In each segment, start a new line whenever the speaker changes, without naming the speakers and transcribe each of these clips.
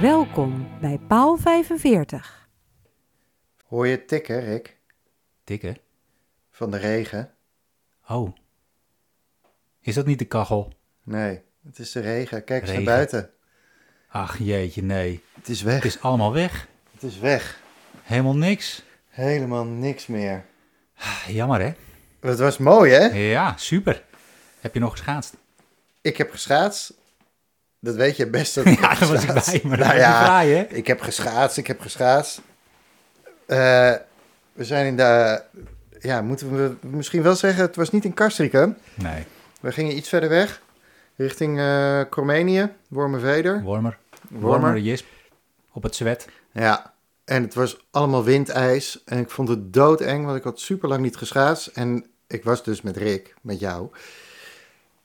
Welkom bij Paal 45.
Hoor je het tikken, Rick?
Tikken?
Van de regen?
Oh. Is dat niet de kachel?
Nee, het is de regen. Kijk eens
Regen.
naar buiten.
Ach jeetje, nee.
Het is weg.
Het is allemaal weg.
Het is weg.
Helemaal niks.
Helemaal niks meer.
Ah, Jammer hè?
Het was mooi, hè?
Ja, super. Heb je nog geschaatst?
Ik heb geschaatst. Dat weet je best. Dat ik
Ja,
heb
daar was ik
geschaatst. Nou
bij, maar dat was niet fraai, hè?
Ik heb geschaatst, ik heb geschaatst. Eh, we zijn in de... Ja, moeten we misschien wel zeggen, het was niet in Castricum.
Nee.
We gingen iets verder weg. Richting eh Cormenië, Wormerveder.
Warmer.
Wormer.
Warmer, jisp. Op het zwet.
Ja, en het was allemaal windijs. En ik vond het doodeng, want ik had super lang niet geschaatst. En ik was dus met Rick, met jou.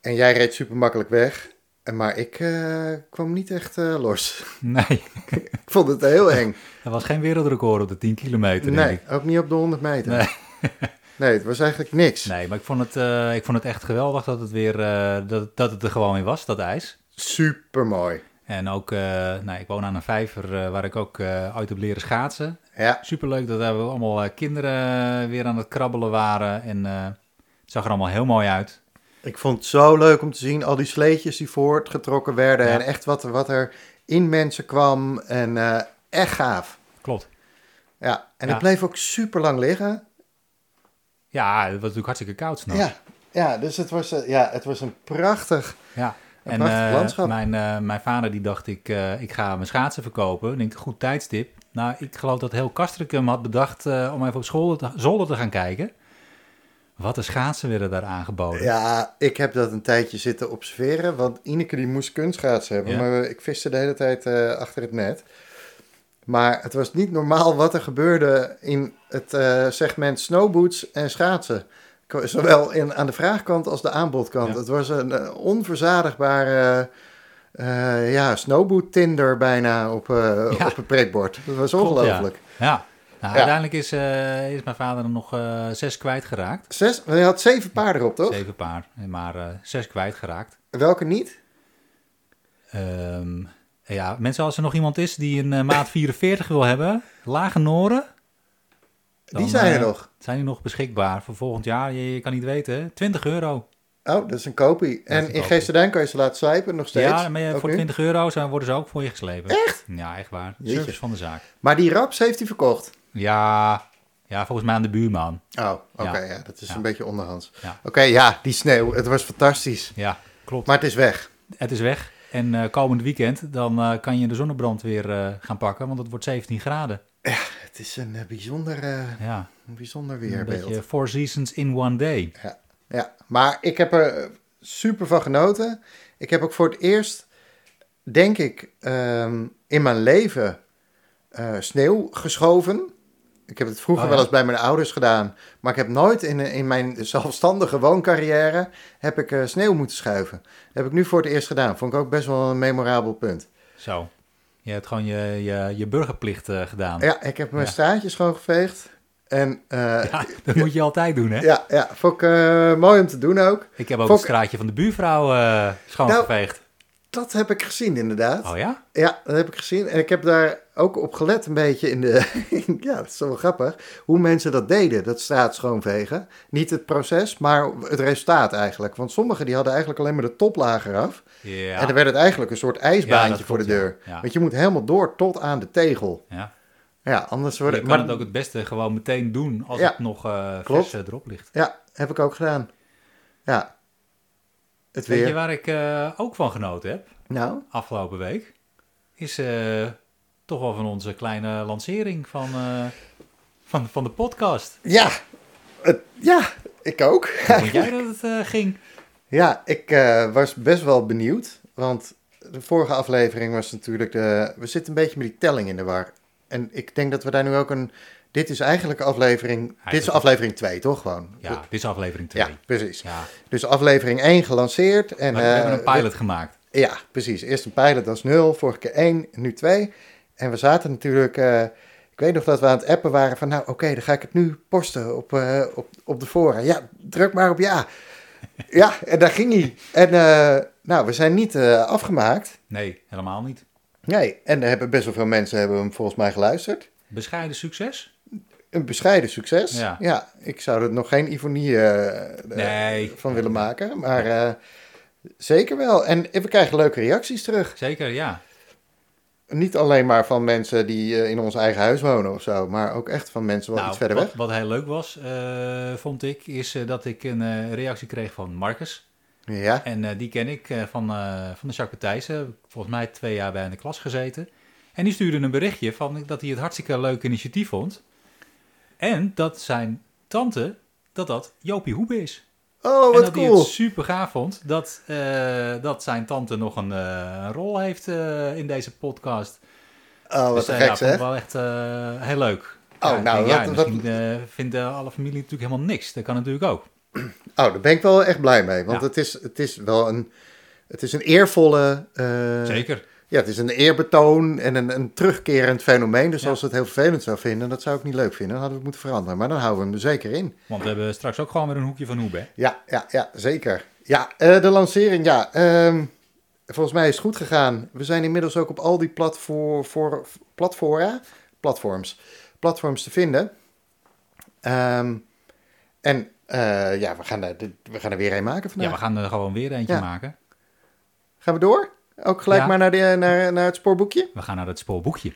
En jij reed super makkelijk weg. En Maar ik eh, kwam niet echt eh, los.
Nee.
ik vond het heel eng.
Er was geen wereldrecord op de 10 kilometer. denk
Nee,
ik.
ook niet op de 100 meter.
Nee.
Nee, het was eigenlijk niks.
Nee, maar ik vond, het, eh, ik vond het echt geweldig dat het weer eh, dat, dat het er gewoon weer was, dat ijs.
Super mooi.
En ook, eh, nou, ik woon aan een vijver eh, waar ik ook eh, uit heb leren schaatsen.
Ja,
Superleuk dat daar allemaal eh, kinderen weer aan het krabbelen waren. En eh, het zag er allemaal heel mooi uit.
ik vond het zo leuk om te zien. Al die sleetjes die voortgetrokken werden.
Ja.
En echt wat, er- wat er in mensen kwam. En eh, echt gaaf.
Klopt.
Ja, en
Ja.
ik bleef ook super lang liggen.
Ja, het was natuurlijk hartstikke koud s'nachts.
Ja, ja, dus het was, eh, ja, het was een prachtig.
Ja.
Een
En
prachtig
eh,
landschap.
mijn, eh, mijn vader die dacht, ik, eh, ik ga mijn schaatsen verkopen. Ik denk, goed tijdstip. Nou, ik geloof dat heel Kastrikum had bedacht eh, om even op school te, zolder te gaan kijken. Wat de schaatsen werden daar aangeboden.
Ja, ik heb dat een tijdje zitten observeren. Want Ineke die moest kunstschaatsen hebben.
Ja.
Maar ik viste de hele tijd eh, achter het net. Maar het was niet normaal wat er gebeurde in het eh, segment snowboots en schaatsen. K- Zowel in, aan de vraagkant als de aanbodkant.
Ja.
Het was een eh, onverzadigbare eh, eh, ja, snowboot tinder bijna op, eh,
Ja.
op het prikbord. Dat was
Klopt, ja.
ongelooflijk.
Ja. Nou,
Ja.
Uiteindelijk is, eh, is mijn vader er nog eh, zes kwijtgeraakt.
Zes, je had zeven paarden op, toch?
Zeven paar, maar eh, zes kwijtgeraakt.
Welke niet?
Ehm, ja, mensen, als er nog iemand is die een eh, maat 44 wil hebben, lage noren. dan,
Die zijn er
eh,
nog.
Zijn die nog beschikbaar voor volgend jaar? Je, je kan niet weten, hè? 20 euro.
Oh, dat is een kopie.
is een
En in
kopie.
Geesterdijn kan je ze laten slijpen, nog steeds.
Ja, maar ja,
Ook
voor
nu.
20 euro zijn, worden ze ook voor je geslepen. Echt? Ja, echt waar.
Jeetje.
Service van de zaak.
Maar die raps heeft hij verkocht.
Ja, ja, volgens mij aan de buurman.
Oh, oké,
Ja.
ja. dat is
Ja.
een beetje onderhands.
Ja.
Oké, ja, die sneeuw, het was fantastisch.
Ja, klopt.
Maar het is weg.
Het is weg. En eh, komend weekend dan eh, kan je de zonnebrand weer eh, gaan pakken, want het wordt 17 graden.
Het is een eh, bijzonder, eh,
Ja,
een bijzonder
een
weerbeeld.
beetje four seasons in one day.
Ja, ja, maar ik heb er eh, super van genoten. Ik heb ook voor het eerst, denk ik, ehm, in mijn leven eh, sneeuw geschoven. Ik heb het vroeger
Oh ja.
wel eens bij mijn ouders gedaan. Maar ik heb nooit in, in mijn zelfstandige wooncarrière heb ik, eh, sneeuw moeten schuiven. Dat heb ik nu voor het eerst gedaan. Vond ik ook best wel een memorabel punt.
Zo. Je hebt gewoon je, je, je burgerplicht eh, gedaan.
Ja, ik heb mijn
Ja.
straatjes schoongeveegd. En eh, ja.
Ja, dat moet je altijd doen, hè?
Ja, vond ik eh, mooi om te doen ook.
Ik heb ook
Fok-
het straatje van de buurvrouw eh, schoongeveegd.
Dat heb ik gezien inderdaad.
Oh ja?
Ja, Nou, dat heb ik gezien. En ik heb daar ook op gelet een beetje in de... in- ja, dat is wel grappig. Hoe mensen dat deden, dat straat schoonvegen. Niet het proces, maar het resultaat eigenlijk. Want sommigen die hadden eigenlijk alleen maar de toplaag eraf. En
Ja.
dan werd het eigenlijk een soort ijsbaantje
Ja, dat
voor de
klopt, ja.
deur.
Ja.
Want je moet helemaal door tot aan de tegel.
ja.
Ja, anders
Je
wordt
kan
maar-
het ook het beste gewoon meteen doen als
Ja.
het nog eh
Klopt.
vers eh, erop ligt.
Ja, heb ik ook gedaan. Ja. Het
Weet je
weer.
waar ik eh, ook van genoten heb
Nou,
afgelopen week? Is eh, toch wel van onze kleine lancering van, eh, van, van de podcast.
ja. Het- ja, ik ook.
Hoe vond jij dat het eh, ging?
Ja, ik eh, was best wel benieuwd. Want de vorige aflevering was natuurlijk de. We zitten een beetje met die telling in de war. En ik denk dat we daar nu ook een. Dit is eigenlijk aflevering. dit is aflevering 2, toch? Gewoon.
Ja, dit is aflevering 2.
Ja,
Ja.
precies. Dus aflevering 1 gelanceerd. En,
Maar we hebben
eh,
een pilot gemaakt.
we- ja, precies. Eerst een pilot, dat is 0. Vorige keer 1, nu 2. En we zaten natuurlijk. eh, ik weet nog dat we aan het appen waren van. Nou, oké, dan ga ik het nu posten op, eh, op, op de fora. Ja, druk maar op ja. Ja, en daar ging hij. En eh, nou, we zijn niet eh, afgemaakt.
Nee, helemaal niet.
Nee, en er hebben best wel veel mensen hebben hem volgens mij geluisterd.
Bescheiden succes?
Een bescheiden succes.
Ja.
Ja, ik zou er nog geen ironie eh,
Nee.
eh, van willen maken. Maar eh, zeker wel. En we krijgen leuke reacties terug.
Zeker, ja.
Niet alleen maar van mensen die eh, in ons eigen huis wonen of zo. Maar ook echt van mensen wat
Nou,
iets verder
wat,
weg.
wat heel leuk was, eh, vond ik, is eh, dat ik een eh, reactie kreeg van Marcus.
Ja,
En eh, die ken ik eh, van, eh, van de Jacques Thijssen. Volgens mij twee jaar bij in de klas gezeten. En die stuurde een berichtje van dat hij het hartstikke leuk initiatief vond. En dat zijn tante, dat dat Jopie Hoebe is.
oh
en
wat
dat hij
cool.
het super gaaf vond dat, eh, dat zijn tante nog een eh, rol heeft eh, in deze podcast.
Oh, wat
Dus, eh,
gek
ja, vond ik
zeg.
wel echt eh, heel leuk.
Oh,
Ja, ik
nou,
denk, ja,
dat- dat-
misschien eh, vindt eh, alle familie natuurlijk helemaal niks. Dat kan natuurlijk ook.
Oh, daar ben ik wel echt blij mee. Want
Ja.
het, is, het is wel een, het is een eervolle... eh,
Zeker.
Ja, het is een eerbetoon en een, een terugkerend fenomeen. Dus
Ja.
als ze het heel vervelend zou vinden, dat zou ik niet leuk vinden. Dan hadden we het moeten veranderen. Maar dan houden we hem er zeker in.
Want we hebben straks ook gewoon weer een hoekje van Hoebe. hè?
Ja, ja, ja, zeker. Ja, eh, de lancering, ja. ehm, volgens mij is het goed gegaan. We zijn inmiddels ook op al die platfor- voor- platfora, platforms, platforms te vinden. Ehm, en eh, ja, we gaan, er, we gaan er weer een maken vandaag.
Ja, we gaan er gewoon weer eentje
Ja.
maken.
Gaan we door? Ook gelijk
Ja.
maar naar, de, naar, naar het spoorboekje?
We gaan naar het spoorboekje.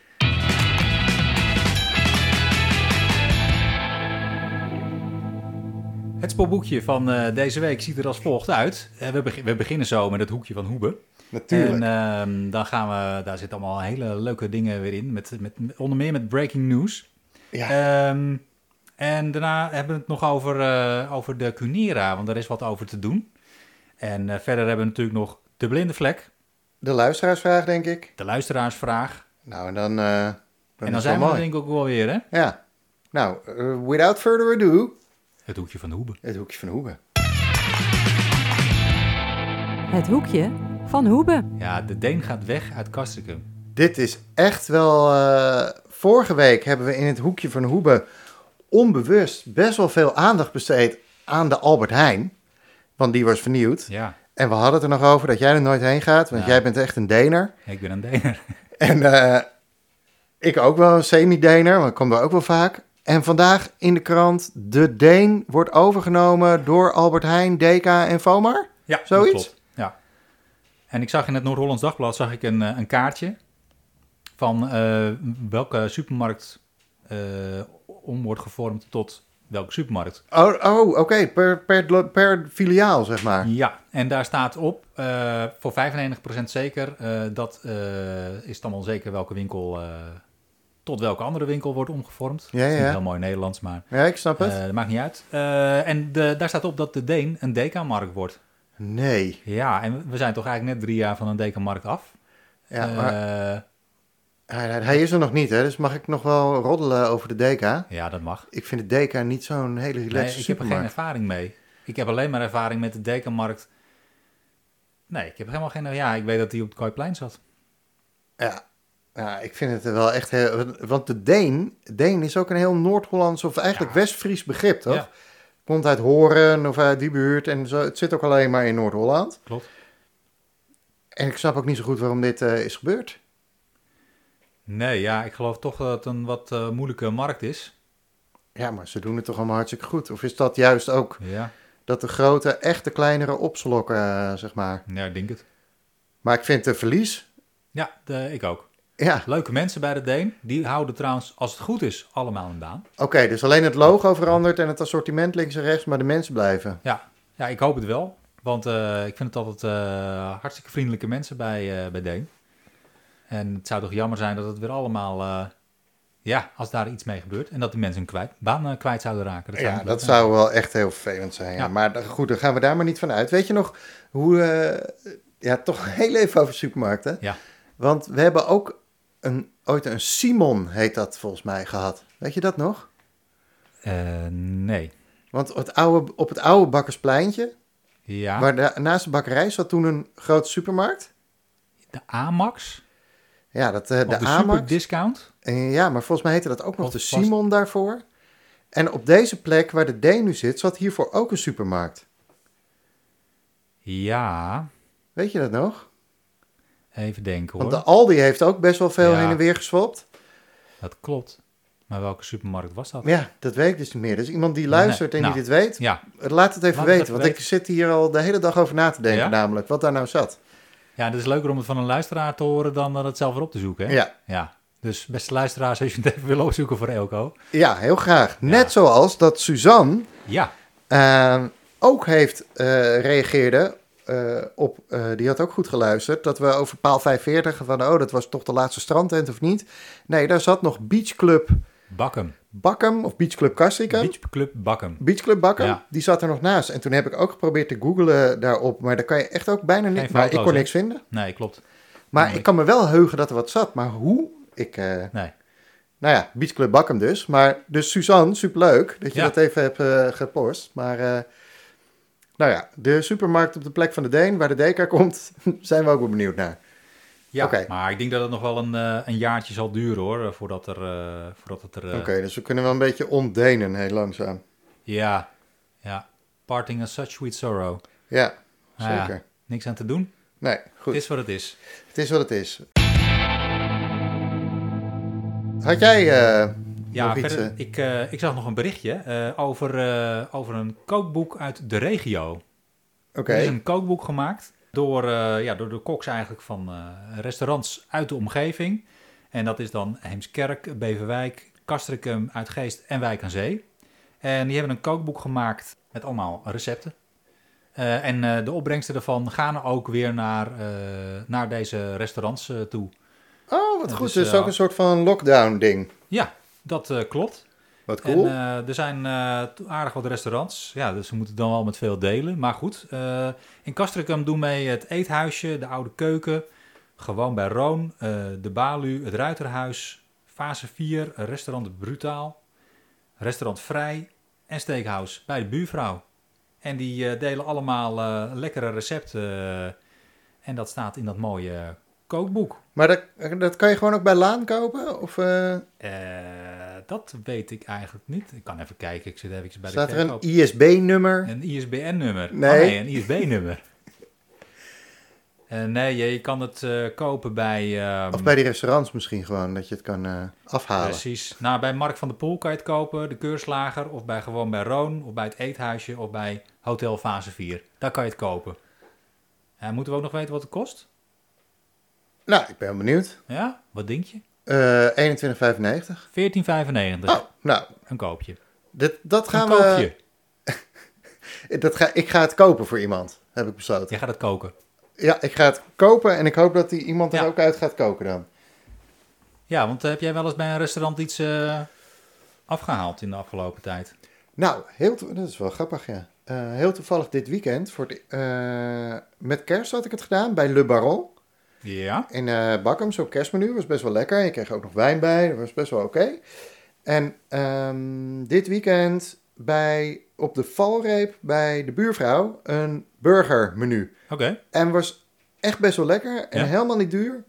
Het spoorboekje van eh, deze week ziet er als volgt uit. Eh, we, beg- we beginnen zo met het hoekje van Hoebe. En ehm, dan gaan we, daar zitten allemaal hele leuke dingen weer in. Met, met, onder meer met breaking news.
eh, ja.
Ehm, en daarna hebben we het nog over, eh, over de Cunera, want daar is wat over te doen. En eh, verder hebben we natuurlijk nog de blinde vlek,
de luisteraarsvraag, denk ik.
de luisteraarsvraag.
Nou, en dan, eh, dan is
en dan
het
zijn we
wel
er
mooi.
denk ik ook wel weer, hè?
Ja. Nou, eh, without further ado,
Het hoekje van de hoebe.
het hoekje van Hoebe.
Het hoekje van Hoebe.
Ja, de Deen gaat weg uit Kastrikum.
Dit is echt wel... eh, vorige week hebben we in het hoekje van Hoebe onbewust best wel veel aandacht besteed aan de Albert Heijn. Want die was vernieuwd.
Ja,
En we hadden het er nog over dat jij er nooit heen gaat, want
Ja.
jij bent echt een Dener.
ik ben een Dener.
En eh, ik ook wel een semi-Dener, want ik kom daar ook wel vaak. En vandaag in de krant, de Deen wordt overgenomen door Albert Heijn, DK en Vomar.
Ja, dat
Zoiets?
klopt. Ja. En ik zag in het Noord-Hollands Dagblad zag ik een, eh, een kaartje van eh, welke supermarkt eh, om wordt gevormd tot welke supermarkt.
Oh, oh oké, per, per, lo- per filiaal zeg maar.
Ja, en daar staat op, eh, voor 95% zeker, eh, dat eh, is dan wel zeker welke winkel eh, tot welke andere winkel wordt omgevormd.
Ja,
Dat is niet
ja.
heel mooi Nederlands, maar
Ja, ik snap het.
eh, dat maakt niet uit. Eh, en de, daar staat op dat de Deen een Dekamarkt wordt.
nee.
Ja, en we zijn toch eigenlijk net drie jaar van een Dekamarkt af.
Ja,
Eh,
maar hij, hij- hij is er nog niet, hè? dus mag ik nog wel roddelen over de DK?
ja dat mag.
Ik vind de DK niet zo'n hele relaxed
Nee, ik heb er geen
supermarkt.
ervaring mee. Ik heb alleen maar ervaring met de Dekamarkt. Nee, ik heb helemaal geen... Ja, ik weet dat die op het Kooiplein zat.
Ja. ja, ik vind het er wel echt... Heel, want de Deen, Deen is ook een heel Noord-Hollands of eigenlijk
Ja.
West-Fries begrip, toch?
Ja,
komt uit Horen of uit die buurt. En zo, het zit ook alleen maar in Noord-Holland.
klopt.
En ik snap ook niet zo goed waarom dit eh, is gebeurd.
Nee, ja, ik geloof toch dat het een wat eh, moeilijke markt is.
Ja, maar ze doen het toch allemaal hartstikke goed. Of is dat juist ook
Ja,
dat de grote echt de kleinere opslokken, eh, zeg maar.
ja ik denk het.
Maar ik vind het een verlies.
Ja, de- ik ook.
Ja,
Leuke mensen bij de Deen. Die houden trouwens, als het goed is, allemaal een baan.
oké. dus alleen het logo verandert en het assortiment links en rechts, maar de mensen blijven.
Ja, ja ik hoop het wel. Want eh, ik vind het altijd eh, hartstikke vriendelijke mensen bij, eh bij Deen. En het zou toch jammer zijn dat het weer allemaal... eh, ja, als daar iets mee gebeurt. En dat die mensen hun kwijt, baan eh, kwijt zouden raken.
ja,
niet
dat
leuk
zou wel echt heel vervelend zijn. Ja.
Ja.
Maar d- goed, dan gaan we daar maar niet van uit. Weet je nog hoe... eh, ja, toch heel even over supermarkten.
Ja.
Want we hebben ook een, ooit een Simon, heet dat volgens mij, gehad. Weet je dat nog?
zijn. Eh, nee.
Want het oude, op het oude bakkerspleintje,
Ja,
waar da- naast de bakkerij zat toen een grote supermarkt.
de Amax.
Ja, dat, eh,
Of de,
de, de
Super
Amax.
Discount.
Eh, ja, maar volgens mij heette dat ook nog
Of
de
was-
Simon daarvoor. En op deze plek waar de D nu zit, zat hiervoor ook een supermarkt.
Ja,
Weet je dat nog?
Even denken hoor.
Want de Aldi heeft ook best wel veel
Ja.
heen en weer geswapt.
Dat klopt. Maar welke supermarkt was dat?
Ja, dat weet ik dus niet meer. Dus iemand die luistert
Nee,
en
nou.
die dit weet,
Ja,
laat het even
Laat het
weten.
even
want ik
weten.
zit hier al de hele dag over na te denken
Ja?
namelijk, wat daar nou zat.
ja, dat is leuker om het van een luisteraar te horen dan dat het zelf weer op te zoeken. Hè?
Ja.
ja. Dus beste luisteraars, als je het even wil opzoeken voor Elko.
ja, heel graag. Net zoals dat Suzanne
Ja,
eh, ook heeft eh, reageerde eh, op, eh, die had ook goed geluisterd, dat we over paal 45 van, oh, dat was toch de laatste strandtent of niet? Nee, daar zat nog Beach Club
Bakkum.
Bakkum of Beach Club Castricum.
Beach Club Bakkum.
Beach Club Bakker,
Ja.
die zat er nog naast. En toen heb ik ook geprobeerd te googlen daarop, maar daar kan je echt ook bijna niks... Maar ik
foto's,
kon
hè?
niks vinden.
Nee, klopt.
Maar
Nee.
ik kan me wel heugen dat er wat zat. Maar hoe? Ik, eh,
Nee.
nou ja, Beach Club Bakken dus. Maar dus Suzanne, superleuk dat je
Ja.
dat even hebt eh, gepost. Maar eh, nou ja, de supermarkt op de plek van de Deen, waar de Deka komt, zijn we ook wel benieuwd naar.
Ja,
Oké.
maar ik denk dat het nog wel een, eh, een jaartje zal duren hoor, voordat, er, eh, voordat het er... eh,
Oké, dus we kunnen wel een beetje ontdenen, heel langzaam.
Ja, ja. Parting is such sweet sorrow.
Ja,
Nou ja,
zeker.
niks aan te doen.
Nee, goed.
Het is wat het is.
Het is wat het is. Had jij eh
Ja,
nog iets?
verder,
eh?
ik, eh, ik zag nog een berichtje eh, over, eh, over een kookboek uit de regio.
Oké,
Er is Dus een kookboek gemaakt door, eh, ja, door de koks eigenlijk van eh, restaurants uit de omgeving. En dat is dan Heemskerk, Beverwijk, Castricum, Uitgeest en Wijk aan Zee. En die hebben een kookboek gemaakt met allemaal recepten. Eh, en eh, de opbrengsten daarvan gaan ook weer naar, eh, naar deze restaurants eh, toe.
Oh, wat
Dat
goed.
is,
Dus is
eh,
ook een soort van lockdown-ding.
Ja, dat eh, klopt.
Wat cool.
En eh, er zijn eh, to- aardig wat restaurants. Ja, dus ze moeten dan wel met veel delen. Maar goed, eh, in Castricum doen mee het Eethuisje, de Oude Keuken. Gewoon bij Roon, eh, de Balu, het Ruiterhuis. Fase 4, restaurant Brutaal. Restaurant Vrij en Steakhouse bij de buurvrouw. En die eh, delen allemaal eh, lekkere recepten. eh, en dat staat in dat mooie eh, kookboek.
maar dat, dat kan je gewoon ook bij Laan kopen? Of eh,
Eh, dat weet ik eigenlijk niet. Ik kan even kijken. Ik zit even bij de
staat er een
verkoop.
ISB-nummer?
Een ISBN-nummer?
Nee.
Nee. Oh, nee, een ISB-nummer. Eh, nee, je, je kan het eh, kopen bij... ehm,
Of bij die restaurants misschien gewoon, dat je het kan eh, afhalen.
Precies. Nou, bij Mark van der Poel kan je het kopen, de keurslager, of bij gewoon bij Roon, of bij het eethuisje, of bij Hotel Fase 4. Daar kan je het kopen. En moeten we ook nog weten wat het kost?
Nou, ik ben wel benieuwd.
Ja? Wat denk je?
Eh, 21,95.
14,95.
Oh, nou,
Een koopje.
dit, dat gaan
een
we...
koopje.
Dat ga, ik ga het kopen voor iemand, heb ik besloten.
Je gaat het koken.
Ja, ik ga het kopen en ik hoop dat die iemand er
Ja.
ook uit gaat koken dan.
Ja, want eh, heb jij wel eens bij een restaurant iets eh, afgehaald in de afgelopen tijd?
Nou, heel to- dat is wel grappig, ja. Eh, heel toevallig dit weekend, voor het- eh, met kerst had ik het gedaan bij Le Baron
Ja.
in eh Bakkum. Zo'n kerstmenu was best wel lekker. Je kreeg ook nog wijn bij, dat was best wel oké. En ehm, dit weekend bij, op de valreep bij de buurvrouw een burgermenu.
Oké.
En was echt best wel lekker en
Ja?
helemaal niet duur.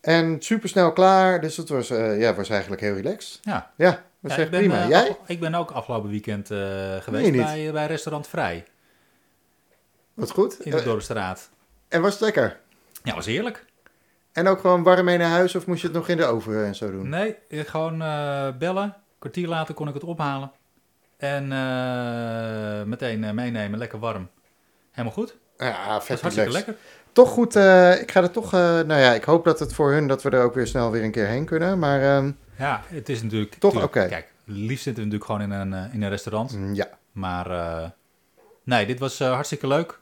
En super snel klaar, dus het was, eh, ja, was eigenlijk heel relaxed.
Ja.
Ja, was
Ja,
echt
ik ben,
prima.
eh,
Jij?
af- ik ben ook afgelopen weekend eh,
je
geweest
niet?
bij, bij restaurant Vrij
Wat goed.
in de
Eh,
Dorpstraat.
En was het lekker?
Ja, was heerlijk.
En ook gewoon warm mee naar huis of moest je het nog in de oven en zo doen?
Nee, eh, gewoon eh, bellen. kwartier later kon ik het ophalen. En eh, meteen eh, meenemen, lekker warm. Helemaal goed.
Ja,
was
vet
hartstikke
relaxed.
lekker.
Toch goed, eh, ik ga er toch, eh, nou ja, ik hoop dat het voor hun, dat we er ook weer snel weer een keer heen kunnen. Maar ehm,
Ja, het is natuurlijk...
Toch
tuurlijk,
oké.
Kijk, liefst zitten we natuurlijk gewoon in een, eh, in een restaurant.
mm, ja.
Maar eh, nee, dit was eh, hartstikke leuk.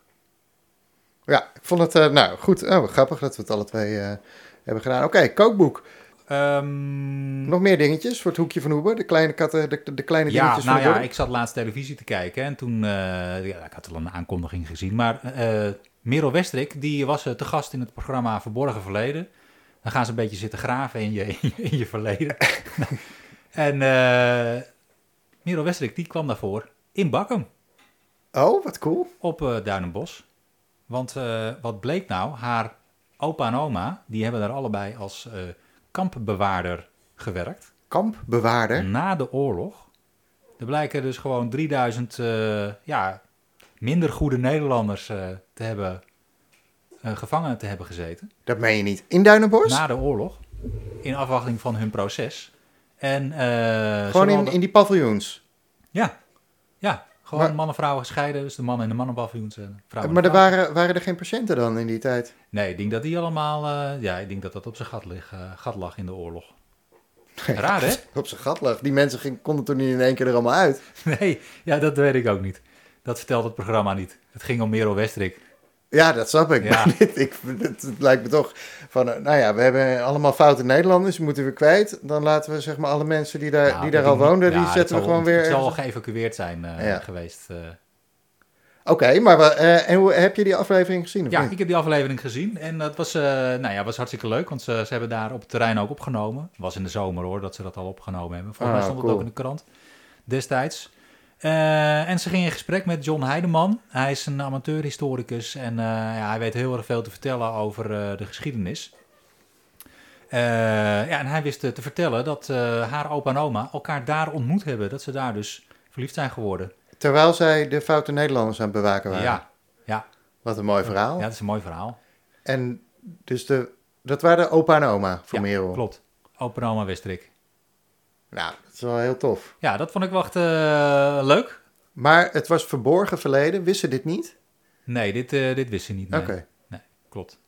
ja, ik vond het, eh, nou goed, oh, wat grappig dat we het alle twee eh, hebben gedaan. Oké, kookboek.
Ehm,
Nog meer dingetjes voor het hoekje van Hoebe? De kleine katten, de, de kleine
Ja,
dingetjes
nou
van de
ja,
dorp?
ik zat laatst televisie te kijken en toen, eh, ja, ik had al een aankondiging gezien, maar eh Merel Westrik, die was eh, te gast in het programma Verborgen Verleden. Dan gaan ze een beetje zitten graven in je, in je, in je verleden. en eh Merel Westrik, die kwam daarvoor in Bakkum
Oh, wat cool.
op eh Duinenbos. Want eh, wat bleek nou, haar opa en oma, die hebben daar allebei als eh, kampbewaarder gewerkt
Kampbewaarder.
na de oorlog. Er blijken dus gewoon 3000 eh, ja, minder goede Nederlanders eh, te hebben eh, eh, gevangen te hebben gezeten.
Dat meen je niet. In Duinenbos?
Na de oorlog. In afwachting van hun proces. En, eh, ze
Gewoon in,
wonen-
in die paviljoens.
Ja. Ja. Gewoon
Maar-
man en vrouw gescheiden. Dus de man en de mannenpaviljoens. en vrouw en
maar er
vrouw.
waren, waren er geen patiënten dan in die tijd?
Nee, ik denk dat die allemaal... eh, ja, ik denk dat dat op zijn gat, lig, eh, gat lag in de oorlog. Raar, hè?
Op zijn gat lag. Die mensen gingen- konden toen niet in één keer er allemaal uit.
Nee, ja, dat weet ik ook niet. Dat vertelt het programma niet. Het ging om Merel Westrik.
Ja, dat snap ik.
Ja.
Maar dit, ik, het, het lijkt me toch van, eh, nou ja, we hebben allemaal foute Nederlanders, die moeten we kwijt. Dan laten we zeg maar alle mensen die daar,
Ja,
eh, die
Nou, dat
daar al
die-
woonden,
ja,
die
dat
zetten we
zal-
gewoon weer...
Het zal al
ergens-
geëvacueerd zijn eh,
Ja.
geweest. eh.
Oké, maar we- eh, en hoe, heb je die aflevering gezien of
Ja,
niet?
ik heb die aflevering gezien en dat was, eh, nou ja, was hartstikke leuk, want ze, ze hebben daar op het terrein ook opgenomen. Was in de zomer hoor, dat ze dat al opgenomen hebben. Volgens mij
Ah,
stond
cool.
het ook in de krant destijds. Eh, en ze gingen in gesprek met John Heideman. Hij is een amateurhistoricus en eh, ja, hij weet heel erg veel te vertellen over eh, de geschiedenis. Eh, ja, en hij wist eh, te vertellen dat eh, haar opa en oma elkaar daar ontmoet hebben. Dat ze daar dus verliefd zijn geworden.
Terwijl zij de foute Nederlanders aan het bewaken waren.
Ja, ja.
Wat een mooi verhaal.
ja, dat is een mooi verhaal.
En dus de, dat waren opa en oma voor
Ja,
Merel.
Klopt. Opa en oma Westrik.
Nou, dat is wel heel tof.
Ja, dat vond ik wel echt eh, leuk.
Maar het was verborgen verleden, wisten dit niet?
Nee, dit, eh, dit wist ze niet.
Oké,
nee.
oké.
Klopt.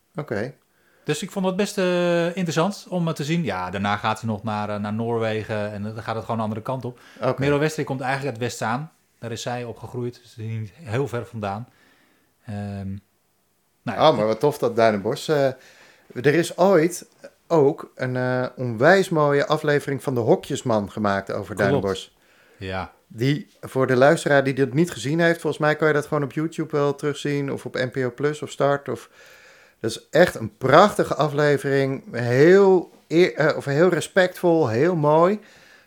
Dus ik vond het best eh, interessant om eh, te zien. Ja, daarna gaat ze nog naar, eh, naar Noorwegen en eh, dan gaat het gewoon de andere kant op.
Oké.
Merel Westrik komt eigenlijk uit Westzaan. Daar is zij opgegroeid. Dus die is niet heel ver vandaan. Ehm, nou, ja,
Oh, maar wat tof dat Duinenbos. eh er is ooit ook een eh, onwijs mooie aflevering van de Hokjesman gemaakt over
Klopt.
Duinenbos.
ja,
Die voor de luisteraar die dit niet gezien heeft, volgens mij kan je dat gewoon op YouTube wel terugzien of op NPO Plus of Start. Of... Dat is echt een prachtige aflevering. Heel, eer- eh, of heel respectvol, heel mooi.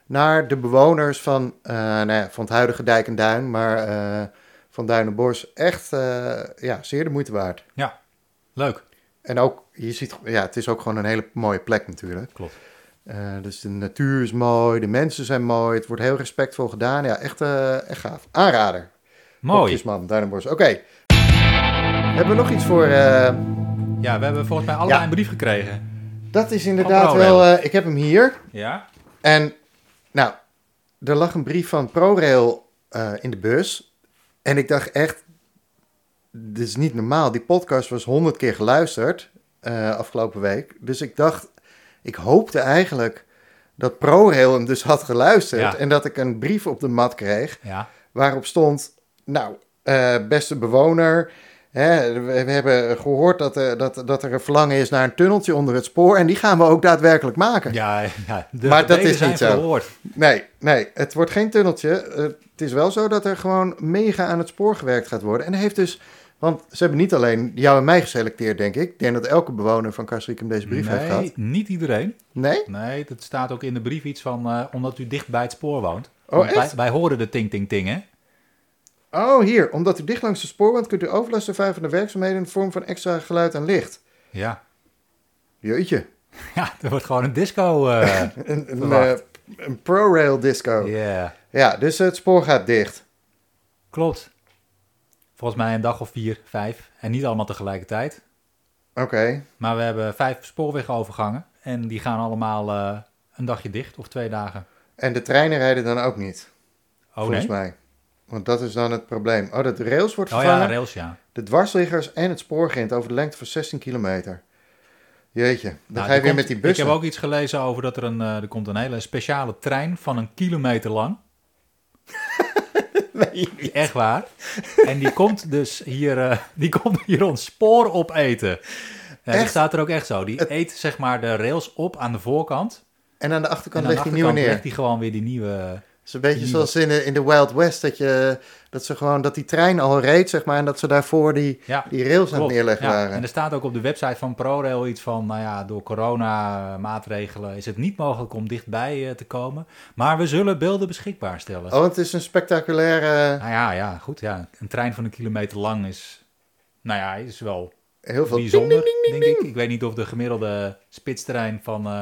Naar de bewoners van, eh, nou ja, van het huidige Dijk en Duin, maar eh, van Duinenbos. Echt eh, ja, zeer de moeite waard.
leuk.
En ook, je ziet, ja, het is ook gewoon een hele mooie plek natuurlijk.
Klopt.
Eh, dus de natuur is mooi, de mensen zijn mooi, het wordt heel respectvol gedaan. Ja, echt, eh, echt gaaf. Aanrader.
Mooi.
Hokjesman, Duinenbos. Oké. Hebben we nog iets voor... eh,
Ja, we hebben volgens mij allebei
Ja.
een brief gekregen.
dat is inderdaad
Van
wel...
ProRail.
eh, ik heb hem hier.
Ja?
En, nou, er lag een brief van ProRail eh, in de bus. En ik dacht echt, dit is niet normaal. Die podcast was honderd keer geluisterd eh, afgelopen week. Dus ik dacht, ik hoopte eigenlijk dat ProRail hem dus had geluisterd.
Ja.
En dat ik een brief op de mat kreeg
Ja.
waarop stond, nou, eh, beste bewoner... Hè, we, we hebben gehoord dat, eh, dat, dat er een verlangen is naar een tunneltje onder het spoor. En die gaan we ook daadwerkelijk maken.
Ja, ja. De
Maar dat
gebeden
is
zijn
niet zo.
verhoord.
Nee, nee, het wordt geen tunneltje. Eh, Het is wel zo dat er gewoon mega aan het spoor gewerkt gaat worden. En dat heeft dus, want ze hebben niet alleen jou en mij geselecteerd, denk ik. Ik denk dat elke bewoner van Kastrikum deze brief heeft gehad.
Nee, niet iedereen.
Nee?
Nee, dat staat ook in de brief iets van eh, omdat u dicht bij het spoor woont.
Oh,
Want
echt?
Wij, wij horen de ting ting ting, hè?
Oh, hier. Omdat u dicht langs de spoor woont, kunt u overlast ervaren van de werkzaamheden in de vorm van extra geluid en licht.
Ja.
Jeetje.
Ja, er wordt gewoon een disco. eh,
Een, een,
Verwacht.
eh, een pro-rail disco.
Ja,
Ja, dus het spoor gaat dicht.
klopt. Volgens mij een dag of vier, vijf. En niet allemaal tegelijkertijd.
Oké.
Maar we hebben vijf spoorwegovergangen. En die gaan allemaal eh, een dagje dicht of twee dagen.
En de treinen rijden dan ook niet,
Oh
volgens
nee?
mij. Want dat is dan het probleem. Oh, dat de rails wordt
Oh
vervangen.
ja, rails ja.
De dwarsliggers en het spoorgrind over de lengte van 16 kilometer. Jeetje, dan
Nou,
ga je
er
weer
komt-
met die bussen.
Ik heb ook iets gelezen over dat er een, eh, er komt een hele speciale trein van een kilometer lang. Echt waar. En die komt dus hier, eh, die komt hier ons spoor opeten. Ja,
Echt?
dat staat er ook echt zo. Die
Het-
eet zeg maar de rails op aan de voorkant.
En aan de achterkant
en aan de
legt hij nieuwe neer.
achterkant legt hij gewoon weer die nieuwe... eh,
Het is een beetje
die
zoals in de, in de Wild West, dat, je, dat ze gewoon, dat die trein al reed, zeg maar, en dat ze daarvoor die,
Ja,
die rails aan het
klopt.
neerleggen
Ja,
waren.
En er staat ook op de website van ProRail iets van... nou ja, door corona-maatregelen is het niet mogelijk om dichtbij eh, te komen. Maar we zullen beelden beschikbair stellen.
Oh, het is een spectaculaire,
Nou ja, ja, goed. Ja. Een trein van een kilometer lang is... Nou ja, is wel
eh, heel veel...
bijzonder, denk ik. Ik weet niet of de gemiddelde spitsterrein van, eh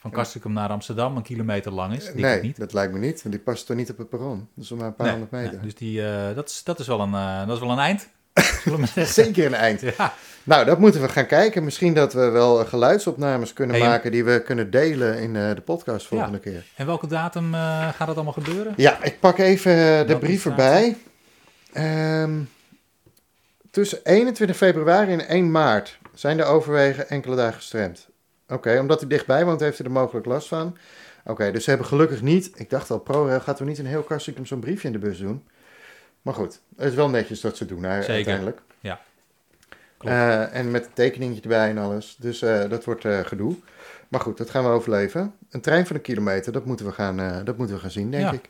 van Castricum naar Amsterdam een kilometer lang is. Denk
nee,
ik niet.
dat lijkt me niet, want die past toch niet op het perron. Dat is nog maar een paar
Nee,
honderd
nee,
meter.
dus die, eh, dat, is, dat, is wel een, eh, dat is wel een eind. Zullen we maar zeggen.
Zeker een eind.
Ja.
Nou, dat moeten we gaan kijken. Misschien dat we wel eh, geluidsopnames kunnen
Hey,
maken die we kunnen delen in eh, de podcast volgende keer.
En welke datum eh, gaat dat allemaal gebeuren?
Ja, ik pak even eh, de
Welke
brief
staat
erbij. Ehm, tussen 21 februari en 1 maart zijn de overwegen enkele dagen gestremd. Oké, omdat hij dichtbij woont, heeft hij er mogelijk last van. Oké, dus ze hebben gelukkig niet. Ik dacht al, ProRail gaat er niet een heel om zo'n briefje in de bus doen. Maar goed, het is wel netjes dat ze doen hè,
Zeker.
uiteindelijk.
Ja. Klopt.
Eh, en met een tekeningetje erbij en alles. Dus eh, dat wordt eh, gedoe. Maar goed, dat gaan we overleven. Een trein van een kilometer, dat moeten we gaan, eh, dat moeten we gaan zien, denk
Ja.
ik.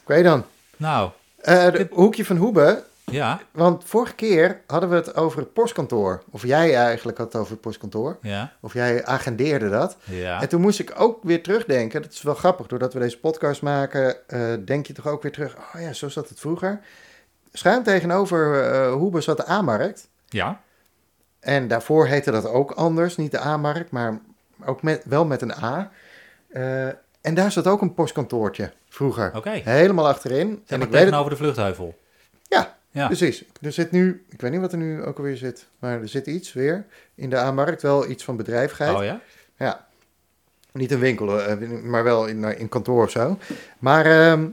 Oké dan.
Nou,
Eh, de hoekje van Hoebe.
ja.
Want vorige keer hadden we het over het postkantoor. Of jij eigenlijk had het over het postkantoor.
Ja.
Of jij agendeerde dat.
Ja.
En toen moest ik ook weer terugdenken. Dat is wel grappig. Doordat we deze podcast maken, eh, denk je toch ook weer terug. Oh ja, zo zat het vroeger. Schuin tegenover eh Hoebe zat de A-markt.
Ja.
En daarvoor heette dat ook anders. Niet de A-markt, maar ook met, wel met een A. Eh, en daar zat ook een postkantoortje vroeger.
Oké.
Helemaal achterin. en
Zeg maar
ik weet het
tegenover de vluchtheuvel.
Ja,
Ja.
precies. Er zit nu, ik weet niet wat er nu ook alweer zit, maar er zit iets weer in de aanmarkt, wel iets van bedrijvigheid.
Oh ja?
Ja. Niet een winkel, eh, maar wel in, eh, in kantoor of zo. Maar ehm,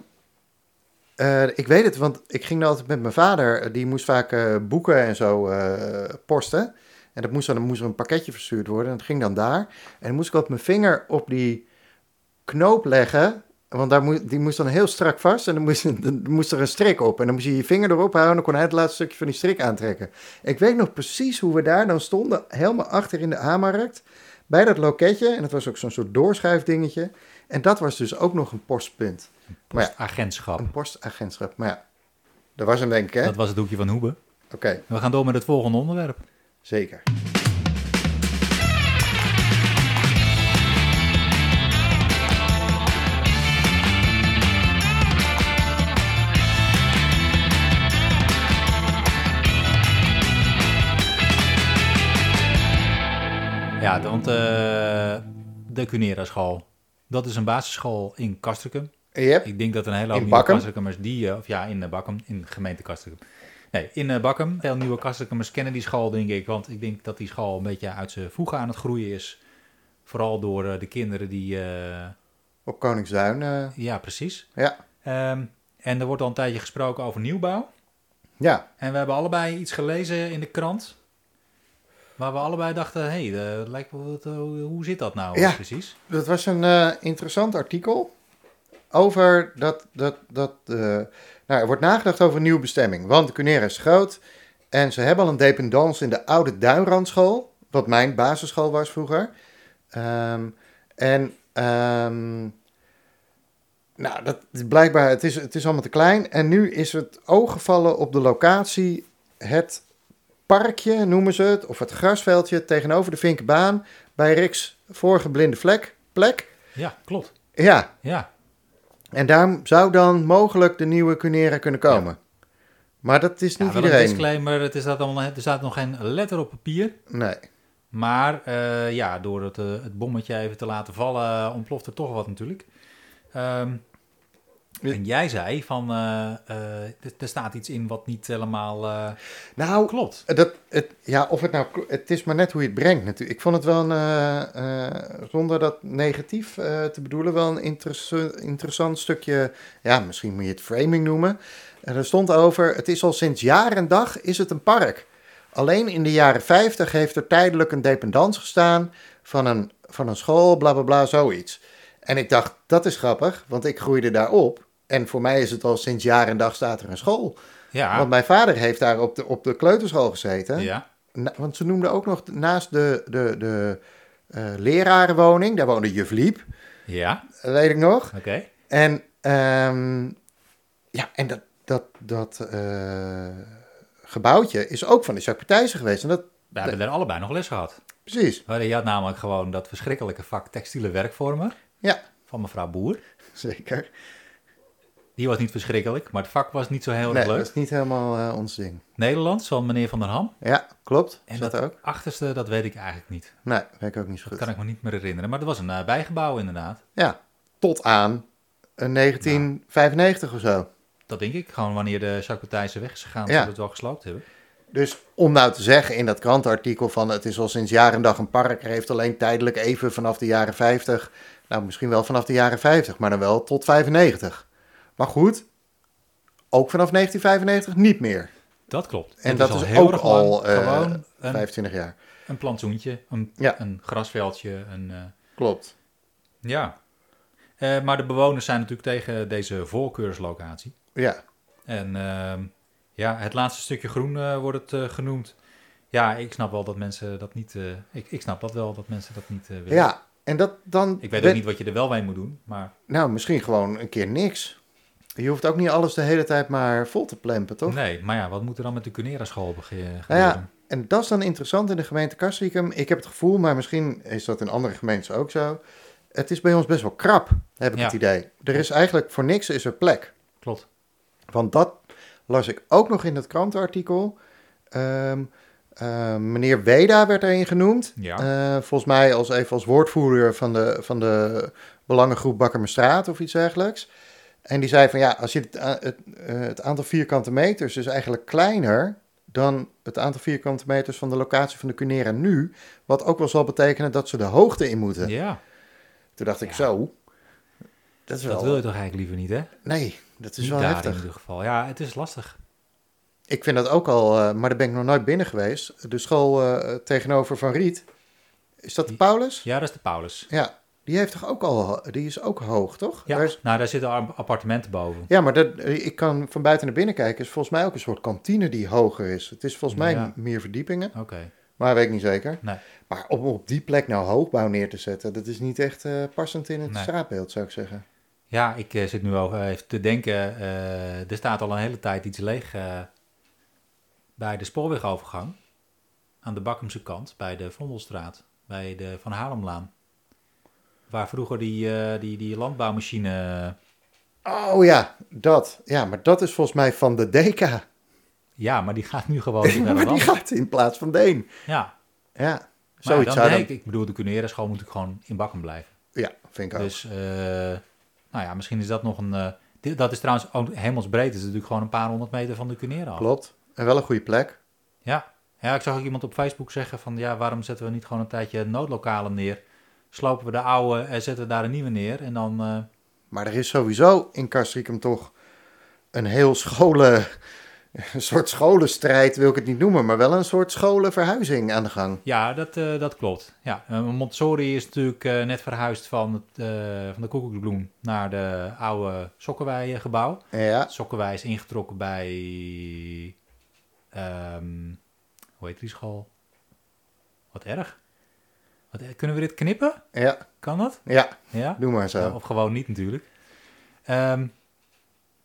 eh, ik weet het, want ik ging altijd met mijn vader, eh, die moest vaak eh, boeken en zo eh, posten. En dat moest dan, dan moest er een pakketje verstuurd worden en dat ging dan daar. En dan moest ik altijd mijn vinger op die knoop leggen, want daar moe- die moest dan heel strak vast en dan moest, dan moest er een strik op. En dan moest je je vinger erop houden en dan kon hij het laatste stukje van die strik aantrekken. Ik weet nog precies hoe we daar dan stonden, helemaal achter in de aanmarkt, bij dat loketje. En dat was ook zo'n soort doorschuifdingetje. En dat was dus ook nog een postpunt, Maar ja.
Postagentschap.
een postagentschap. Maar ja, dat was hem denk ik, hè?
Dat was het hoekje van Hoebe.
Oké,
We gaan door met het volgende onderwerp.
zeker.
Ja, want eh, de Cunera school. Dat is een basisschool in Kastrikum.
Yep.
Ik denk dat een hele hoop
In
nieuwe
Bakkum?
Kastrikummers die... eh, of ja, in eh, Bakkum, in gemeente Kastrikum. Nee, in eh, Bakkum. Veel nieuwe Kastrikummers kennen die school, denk ik. Want ik denk dat die school een beetje uit zijn voegen aan het groeien is. Vooral door eh, de kinderen die... eh,
Op Koningsduin, eh,
ja, precies.
ja.
Ehm, en er wordt al een tijdje gesproken over nieuwbouw.
Ja,
En we hebben allebei iets gelezen in de krant. Waar we allebei dachten, hé, hey, eh, lijkt wel wat, eh, hoe- hoe zit dat nou
Ja.
precies?
dat was een eh, interessant artikel over dat, dat, dat eh, nou, er wordt nagedacht over een nieuwe bestemming. Want Cunera is groot en ze hebben al een dependance in de oude Duinrandschool, wat mijn basisschool was vroeger. Ehm, en ehm, nou, dat is blijkbaar, het is, het is allemaal te klein. En nu is het oog gevallen op de locatie, het parkje noemen ze het, of het grasveldje tegenover de Vinkenbaan bij Riks vorige blinde vlek, plek.
Ja, klopt.
Ja,
Ja,
en daar zou dan mogelijk de nieuwe Cunera kunnen komen. Maar dat is
ja
niet
wel een
iedereen.
disclaimer, het is dat allemaal, er staat nog geen letter op papier.
Nee.
Maar eh, ja, door het, eh, het bommetje even te laten vallen, eh, ontploft er toch wat natuurlijk. Ehm,
Ja.
en jij zei van, eh, eh, er- er staat iets in wat niet helemaal eh,
Nou,
klopt.
Dat, het, ja, of het nou. kl- Het is maar net hoe je het brengt natuurlijk. Ik vond het wel een. eh, eh, zonder dat negatief eh, te bedoelen, wel een interesse- interessant stukje. Ja, misschien moet je het framing noemen. En er stond over. Het is al sinds jaar en dag is het een park. Alleen in de jaren 50 heeft er tijdelijk een dependance gestaan. van een, van een school, bla bla bla, zoiets. En ik dacht, dat is grappig, want ik groeide daar op. En voor mij is het al sinds jaar en dag staat er een school.
Ja,
Want mijn vader heeft daar op de, op de kleuterschool gezeten.
Ah. ja,
Na- want ze noemden ook nog naast de, de, de eh, lerarenwoning, daar woonde juf Liep,
ja,
weet ik nog.
oké.
En, ehm, ja, en dat, dat, dat eh, gebouwtje is ook van de Jacques Partijzen geweest. En dat,
We hebben er allebei nog les gehad.
precies,
Maar Je had namelijk gewoon dat verschrikkelijke vak textiele werkvormen
ja,
van mevrouw Boer.
zeker.
Oh, Die was niet verschrikkelijk, maar het vak was niet zo heel
Nee,
erg
dat
leuk.
is niet helemaal eh, ons ding.
Nederlands van meneer Van der Ham.
Ja, klopt.
En
Is dat,
dat
ook?
achterste, dat weet ik eigenlijk niet.
Nee, weet ik ook niet zo
Dat
goed.
kan ik me niet meer herinneren. Maar dat was een eh, bijgebouw inderdaad. Nou.
Ja, tot aan eh, 1995 of zo.
Dat denk ik. Gewoon wanneer de Jacques weg is gegaan,
Ja.
zodat we het wel gesloopt hebben.
Dus om nou te zeggen in dat krantenartikel van het is al sinds jaar en dag een park, er heeft alleen tijdelijk even vanaf de jaren 50, nou misschien wel vanaf de jaren 50, maar dan wel tot 95. Maar goed, ook vanaf 1995 niet meer.
Dat klopt.
En
Dit
dat is,
heel
ook
erg
al
lang
eh,
gewoon een,
25 jaar.
een plantsoentje, een,
Ja.
een grasveldje, een... eh,
Klopt.
ja. Eh, maar de bewoners zijn natuurlijk tegen deze voorkeurslocatie.
Ja,
En ehm, ja, het laatste stukje groen eh, wordt het eh, genoemd. Ja, ik snap wel dat mensen dat niet. eh, ik, ik snap dat wel dat mensen dat niet eh, willen.
ja. en dat dan...
Ik weet
ben-
ook niet wat je er wel mee moet doen, maar
Nou, misschien gewoon een keer niks. Je hoeft ook niet alles de hele tijd maar vol te plempen, toch?
nee. Maar ja, wat moet er dan met de Cunera school gebeuren?
Nou ja, en dat is dan interessant in de gemeente Castricum. Ik heb het gevoel, maar misschien is dat in andere gemeentes ook zo. Het is bij ons best wel krap, heb ik
Ja.
het idee. Er is eigenlijk voor niks is er plek.
Klopt.
Want dat las ik ook nog in dat krantenartikel. Ehm, eh, meneer Weda werd erin genoemd.
Ja.
Eh, volgens mij als, even als woordvoerder van de, van de belangengroep Bakkermestraat of iets dergelijks. En die zei van ja, als je het, a- het, eh, het aantal vierkante meters is eigenlijk kleiner dan het aantal vierkante meters van de locatie van de Cunera nu. Wat ook wel zal betekenen dat ze de hoogte in moeten.
Ja,
Toen dacht ik
Ja.
zo. Dat is wel.
dat wil je toch eigenlijk liever niet, hè?
Nee, dat is
Niet
wel
daar
heftig.
in ieder geval. Ja, het is lastig.
Ik vind dat ook al, eh, maar daar ben ik nog nooit binnen geweest. De school eh, tegenover Van Riet. Is dat de
Die-
Paulus?
Ja, dat is de Paulus.
Ja. Die heeft toch ook al, die is ook hoog, toch?
Ja,
Daar is-
nou daar zitten ar- appartementen boven.
ja maar dat, ik kan van buiten naar binnen kijken. Is volgens mij ook een soort kantine die hoger is. Het is volgens mij
Ja.
meer verdiepingen,
Oké.
maar weet ik niet zeker.
Nee.
Maar om op die plek nou hoogbouw neer te zetten, dat is niet echt eh, passend in het
Nee.
straatbeeld, zou ik zeggen.
Ja, ik eh, zit nu al eh, even te denken. eh, er staat al een hele tijd iets leeg eh, bij de spoorwegovergang. Aan de Bakkumse kant, bij de Vondelstraat, bij de Van Halemlaan. Waar vroeger die, eh, die, die landbouwmachine...
Oh ja, dat. Ja, maar dat is volgens mij van de Deka.
ja, maar die gaat nu gewoon naar
maar
een
die
land.
gaat in plaats van Deen.
Ja,
Ja,
maar ja,
zoiets
dan,
zou
nee,
dan-
ik, ik bedoel, de Cunera school moet ik gewoon in Bakkum blijven.
Ja, vind ik ook.
Dus, eh, nou ja, misschien is dat nog een... eh, dit- dat is trouwens ook hemelsbreed. Het is natuurlijk gewoon een paar honderd meter van de Cunera af.
Klopt. En wel een goede plek.
Ja. ja, ik zag ook iemand op Facebook zeggen van... ja, waarom zetten we niet gewoon een tijdje noodlokalen neer? Slopen we de oude en zetten we daar een nieuwe neer? En dan... eh,
Maar er is sowieso in Castricum toch een heel scholen... Een soort scholenstrijd wil ik het niet noemen, maar wel een soort scholenverhuizing aan de gang.
ja, dat, eh, dat klopt. Ja, eh, Montessori is natuurlijk eh, net verhuisd van, het, eh, van de Koekoeksbloem... naar de oude Sokkenwei-gebouw.
Ja,
Sokkenwei is ingetrokken bij... ehm, hoe heet die school? Wat erg. Wat, eh, kunnen we dit knippen?
ja,
Kan dat?
ja,
Ja?
doe maar zo.
Of gewoon niet natuurlijk. Ehm,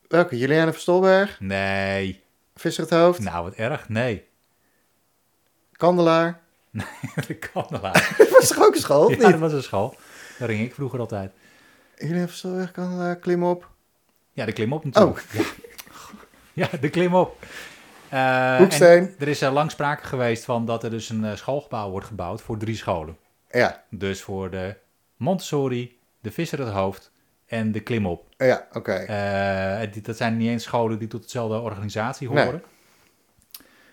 Welke? Juliane van Stolberg,
nee.
Visser het Hoofd,
Nou, wat erg. Nee.
Kandelaar.
De kandelaar.
Dat was toch ook een school, of
Ja, dat
niet?
was een school. Daar ging ik vroeger altijd.
Juliane van Stolberg, Kandelaar, klim op.
Ja, de klimop natuurlijk.
Oh.
Ja. ja, de klimop. Eh,
Hoeksteen.
en Er is eh, lang sprake geweest van dat er dus een eh, schoolgebouw wordt gebouwd voor drie scholen.
Ja,
Dus voor de Montessori, de Visser het Hoofd en de Klimop.
ja, oké.
Eh, die- dat zijn niet eens scholen die tot dezelfde organisatie
Nee.
horen.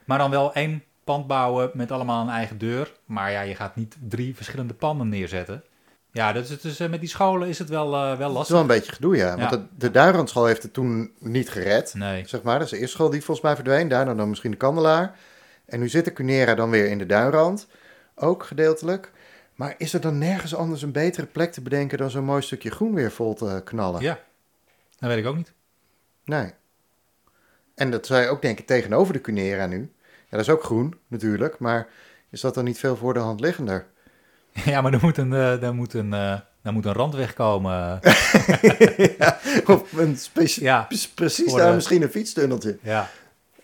Maar dan wel één pand bouwen met allemaal een eigen deur. Maar ja, je gaat niet drie verschillende panden neerzetten. Ja, dus, het is, eh, met die scholen is het wel, eh, wel
Dat is
lastig.
wel een beetje gedoe, ja. Want
Ja.
de, de Duirandschool heeft het toen niet gered.
Nee,
Zeg maar, dat is de eerste school die volgens mij verdween. Daarna dan misschien de kandelaar. En nu zit de Cunera dan weer in de duinrand. Ook gedeeltelijk. Maar is er dan nergens anders een betere plek te bedenken dan zo'n mooi stukje groen weer vol te knallen?
ja. Dat weet ik ook niet.
Nee. En dat zou je ook denken tegenover de Cunera nu. Ja, dat is ook groen natuurlijk. Maar is dat dan niet veel voor de hand liggender?
Ja, maar er moet een, eh, er moet een, eh, er moet een randweg komen.
Of een specie-
ja,
pre- precies
Voor
daar
de-
misschien een fietstunneltje.
ja.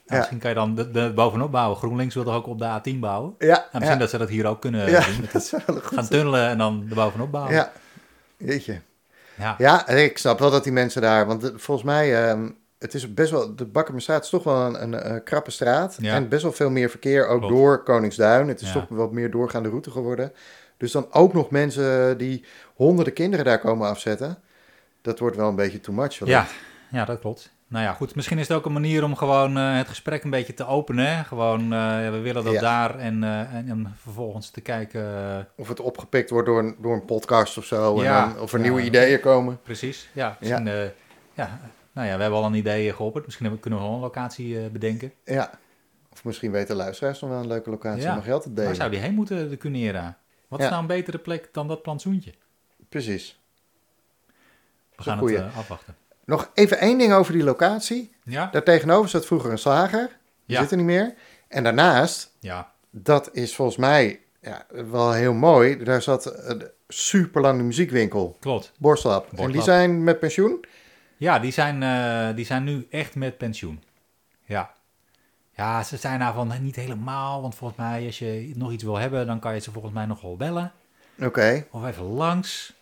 Ja.
Nou, misschien kan je dan de, de bovenop bouwen. GroenLinks wil toch ook op de A10 bouwen?
Ja,
Nou, misschien
ja,
dat ze dat hier ook kunnen
ja,
doen.
dat zou wel goed
Gaan tunnelen en dan de bovenop bouwen.
Ja, jeetje.
Oh. Ja.
Ja, ik snap wel dat die mensen daar, want eh, volgens mij, ehm, het is best wel, de Bakkermestraat is toch wel een, een, eh, krappe straat.
Ja.
En best wel veel meer verkeer, ook
Klopt.
door Koningsduin. Het is
Ja.
toch wat meer doorgaande route geworden. Dus dan ook nog mensen die honderden kinderen daar komen afzetten. Dat wordt wel een beetje too much. hoor.
Ja, ja, dat klopt. Nou ja, goed. Misschien is het ook een manier om gewoon eh, het gesprek een beetje te openen. hè. Gewoon, eh, ja, we willen dat
Ja.
daar en, eh, en, en vervolgens te kijken. eh,
Of het opgepikt wordt door een, door een podcast of zo. en
Ja.
dan- of er
Ja.
nieuwe ideeën komen.
precies. Ja, misschien, ja. ja. Nou ja, we hebben al een idee geopperd. Misschien hebben- kunnen we wel een locatie eh, bedenken.
Ja. Of misschien weten luisteraars nog wel een leuke locatie
Ja.
om geld te
Waar
delen.
zou die heen moeten, de Cunera? Wat
Ja.
is nou een betere plek dan dat plantsoentje?
Precies.
We
is een
gaan het
goeie.
eh, afwachten.
Nog even één ding over die locatie.
Ja?
Daartegenover zat vroeger een slager. Die
Ja.
zit er niet meer. En daarnaast,
Ja.
dat is volgens mij ja, wel heel mooi. Daar zat een superlange muziekwinkel.
Klopt.
Borstlap. En die
Borstlap.
zijn met pensioen.
Ja, die zijn, eh, die zijn nu echt met pensioen. Ja. Ja, ze zijn daarvan niet helemaal. Want volgens mij, als je nog iets wil hebben, dan kan je ze volgens mij nog wel bellen.
Oké. Dus
Of even langs.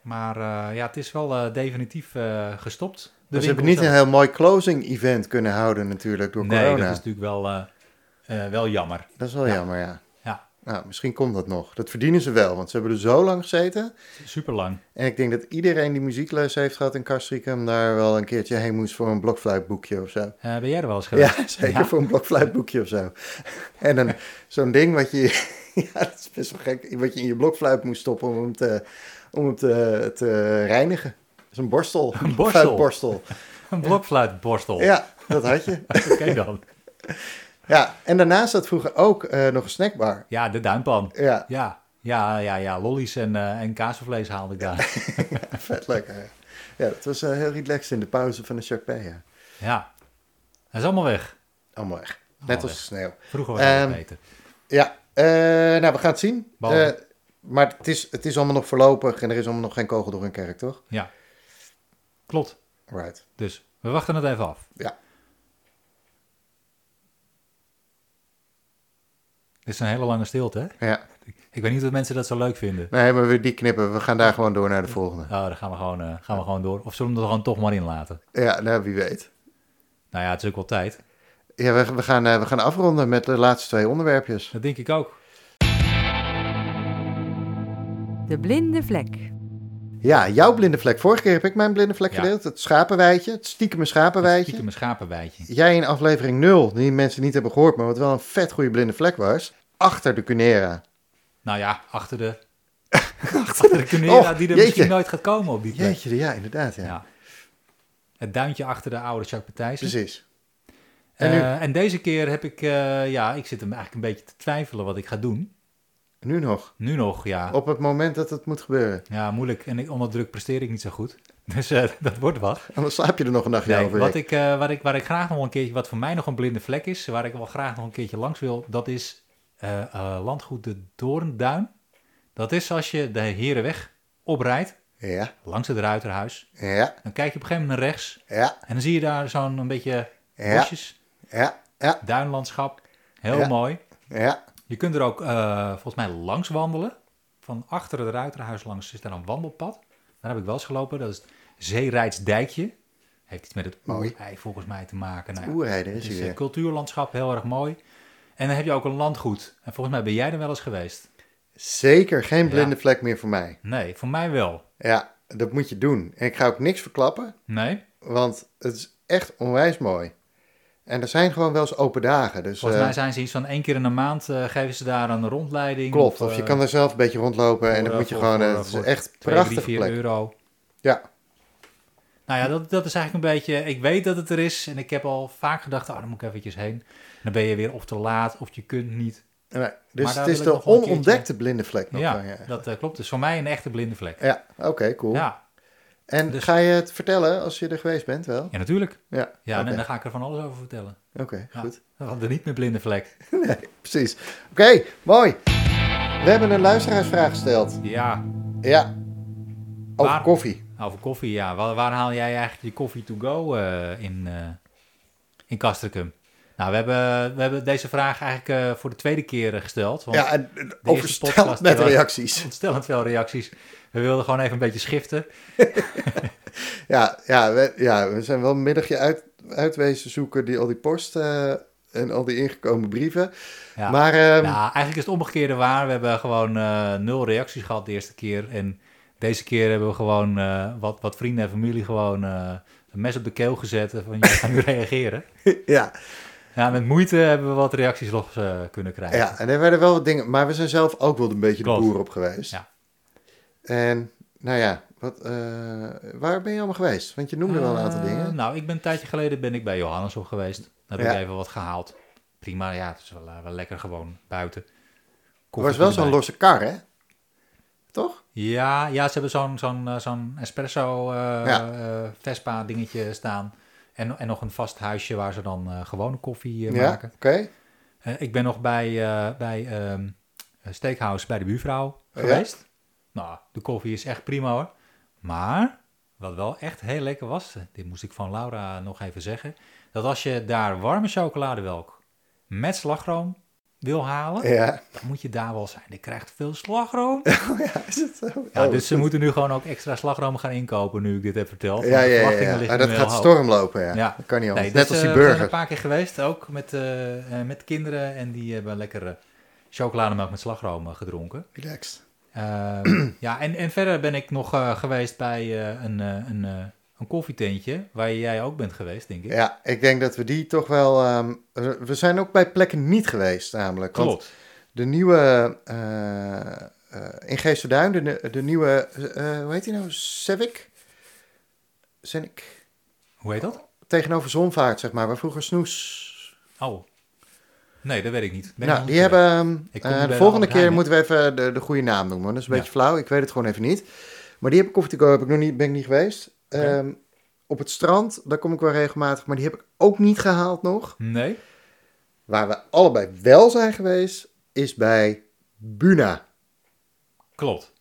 Maar eh, ja, het is wel eh, definitief eh, gestopt. De
Dus ze
winkel
hebben niet een
zelf.
heel mooi closing event kunnen houden natuurlijk door
Nee,
corona.
dat is natuurlijk wel, eh, eh, wel jammer.
wel
Ja.
jammer, ja.
Ja.
Nou, misschien komt dat nog. Dat verdienen ze wel, want ze hebben er zo lang gezeten.
Super lang.
En ik denk dat iedereen die muziekles heeft gehad in Castricum daar wel een keertje heen moest voor een blokfluitboekje of zo.
Eh, ben jij er wel eens geweest?
Ja, zeker
Ja.
voor een blokfluitboekje of zo. En dan zo'n ding wat je, ja, dat is best wel gek, wat je in je blokfluit moest stoppen om hem te, om hem te, te reinigen. Dat is een borstel.
Een borstel?
Fluitborstel.
Een blokfluitborstel.
Ja, dat had je.
Oké dan.
Ja, en daarnaast zat vroeger ook eh, nog een snackbar.
Ja, de duimpan.
Ja,
Ja, ja, ja, ja. Lollies en, eh en kaasvlees haalde ik daar.
vet lekker. Ja, dat was eh, heel relaxed in de pauze van de Chapé. Ja.
Ja, dat is allemaal weg.
Allemaal weg. Net
Allemaal
als
weg.
de sneeuw.
Vroeger was het
Ehm,
beter.
Ja, eh, nou, we gaan het zien.
Behalve-
Eh, maar het is, het is allemaal nog voorlopig en er is allemaal nog geen kogel door een kerk, toch?
Ja, klopt.
Right.
Dus we wachten het even af.
Ja.
Dit is een hele lange stilte, hè?
Ja.
Ik weet niet of mensen dat zo leuk vinden.
Nee, maar we die knippen. We gaan daar gewoon door naar de volgende.
Nou, dan gaan we, gewoon, eh, gaan we gewoon door. Of zullen we hem er gewoon toch maar in laten?
Ja, nou, wie weet.
Nou ja, het is ook wel tijd.
Ja, we, we, gaan, eh, we gaan afronden met de laatste twee onderwerpjes.
Dat denk ik ook.
De blinde vlek.
Ja, jouw blinde vlek. Vorige keer heb ik mijn blinde vlek
Ja.
gedeeld. Het schapenweitje. Het stiekeme schapenweitje.
Stiekem een schapenwijtje.
jij in aflevering 0, die mensen niet hebben gehoord, maar wat wel een vet goede blinde vlek was, achter de Cunera.
Nou ja, achter de... achter de Cunera
Och,
die er
jeetje.
misschien nooit gaat komen op die plek.
Jeetje, ja, inderdaad, ja.
Ja. Het duintje achter de oude Jacques Partijsen.
Precies. En
En,
nu?
en deze keer heb ik, eh, ja, ik zit hem eigenlijk een beetje te twijfelen wat ik ga doen.
Nu nog.
Nu nog, ja.
Op het moment dat het moet gebeuren.
Ja, moeilijk. En ik, onder druk presteer ik niet zo goed. Dus eh, dat wordt wat.
Anders slaap je er nog een dagje
Nee,
over.
wat
Rick.
ik, eh, waar, ik, waar ik graag nog een keertje, wat voor mij nog een blinde vlek is, waar ik wel graag nog een keertje langs wil, dat is eh, eh, landgoed de Doornduin. Dat is als je de Herenweg oprijdt,
Ja,
langs het Ruiterhuis.
ja,
Dan kijk je op een gegeven moment naar rechts
ja,
en dan zie je daar zo'n een beetje
Ja.
bosjes,
ja, ja,
duinlandschap. Heel
Ja.
mooi.
ja.
Je kunt er ook eh, volgens mij langs wandelen. Van achter het Ruiterhuis langs is daar een wandelpad. Daar heb ik wel eens gelopen. Dat is het Zeerijdsdijkje. Heeft iets met het
Mooi.
oerij volgens mij te maken. Nou ja,
Oerheide
het
is
is
hij
een
weer.
cultuurlandschap, heel erg mooi. En dan heb je ook een landgoed. En volgens mij ben jij er wel eens geweest.
Zeker geen
Ja.
blinde vlek meer voor mij.
Nee, voor mij wel.
Ja, dat moet je doen. En ik ga ook niks verklappen,
Nee,
want het is echt onwijs mooi. En er zijn gewoon wel eens open dagen. Dus,
volgens mij
eh,
zijn ze iets van één keer in de maand eh, geven ze daar een rondleiding.
klopt, of je
eh,
kan er zelf een beetje rondlopen en
voor,
dan
eh,
moet je
voor-
gewoon...
voor,
eh,
eh,
Het is
voor
echt een
2, 3,
prachtige
4
plek.
euro.
Ja,
Nou ja, dat, dat is eigenlijk een beetje... Ik weet dat het er is en ik heb al vaak gedacht... Oh, dan moet ik eventjes heen. Dan ben je weer of te laat of je kunt niet.
Nee, dus
Maar daar
het is
wil ik
de
nog wel een
onontdekte blinde vlek nog.
ja,
van, ja.
dat eh, klopt. Dus voor mij een echte blinde vlek.
Ja, oké, cool.
Ja,
en
dus-
ga je het vertellen als je er geweest bent wel?
ja natuurlijk.
Ja,
Ja,
oké,
en dan ga ik er van alles over vertellen.
Oké,
Ja.
goed.
Want de niet meer blinde vlek.
Precies. Oké, mooi. We hebben een luisteraarsvraag gesteld.
Ja,
Ja, over
Waar-
koffie.
over koffie, ja. Waar, waar haal jij eigenlijk je koffie to go eh, in, eh in Castricum? Nou, we hebben, we hebben deze vraag eigenlijk eh, voor de tweede keer eh, gesteld. Want
Ja,
ja.
en, en overstelpt
podcast
met
was-
reacties.
ontstellend veel reacties. We wilden gewoon even een beetje schiften.
Ja, ja, we, ja, we zijn wel een middagje uit, uitwezen zoeken die al die post eh, en al die ingekomen brieven.
Ja.
Maar ehm,
Nou, eigenlijk is het omgekeerde waar. We hebben gewoon eh, nul reacties gehad de eerste keer. En deze keer hebben we gewoon eh, wat, wat vrienden en familie gewoon eh, een mes op de keel gezet. eh, Van, je gaat nu reageren.
ja,
Ja, met moeite hebben we wat reacties los eh, kunnen krijgen.
ja, en er werden wel wat dingen... Maar we zijn zelf ook wel een beetje
Klopt.
de boer op geweest.
Ja.
En, nou ja, wat, eh, waar ben je allemaal geweest? Want je noemde wel een aantal
Eh,
dingen.
Nou, ik ben een tijdje geleden ben ik bij Johannes op geweest. Daar heb
Ja.
ik even wat gehaald. Prima, ja, het is wel, eh, wel lekker gewoon buiten.
Er
Koffie
was wel
erbij.
zo'n losse kar, hè? Toch?
Ja, ja, ze hebben zo'n zo'n eh, zo'n espresso eh, eh, Vespa dingetje staan. En, en nog een vast huisje waar ze dan eh, gewone koffie eh,
ja,
maken.
oké.
Eh, ik ben nog bij, eh, bij ehm, een Steakhouse bij de buurvrouw
Oh ja?
geweest. Nou, de koffie is echt prima hoor. Maar wat wel echt heel lekker was, eh, dit moest ik van Laura nog even zeggen. Dat als je daar warme chocoladewelk met slagroom wil halen,
Ja.
dan moet je daar wel zijn. Je krijgt veel slagroom.
ja, is het zo?
Ja,
Oh,
dus ze moeten nu gewoon ook extra slagroom gaan inkopen nu ik dit heb verteld.
Ja, ja,
De
ja.
verwachtingen
ja.
liggen
Ah, dat
nu
gaat
heel hoog.
storm lopen, ja.
Ja.
Dat kan niet anders.
Nee, dus,
Net als die
eh, we zijn er
burger.
een paar keer geweest, ook met, eh, eh, met kinderen. En die hebben lekkere chocolademelk met slagroom eh, gedronken.
Relaxed.
Ehm, ja, en, en verder ben ik nog eh, geweest bij eh, een, eh, een, eh, een koffietentje. Waar jij ook bent geweest, denk ik.
Ja, ik denk dat we die toch wel... ehm, we zijn ook bij plekken niet geweest, namelijk. Want
Klopt.
de nieuwe... eh, eh, in Geesterduin, de, de nieuwe... eh, hoe heet die nou? Sevic? Sevic?
Hoe heet dat?
Tegenover Zonvaart, zeg maar, waar vroeger Snoes...
Oh. Nee, dat weet ik niet. Ben ik nog
nou,
niet
die
geweest.
hebben...
Ik
ehm, eh,
kom nu bij
de
de
volgende
Albert
keer
Heijn,
moeten we even de, de goede naam noemen. hoor. Dat is een
Ja.
beetje flauw, ik weet het gewoon even niet. Maar die heb ik koffietecor heb ik nog niet, ben ik niet geweest.
Oké.
Ehm, op het strand, daar kom ik wel regelmatig, maar die heb ik ook niet gehaald nog.
Nee?
Waar we allebei wel zijn geweest, is bij Buna.
Klopt.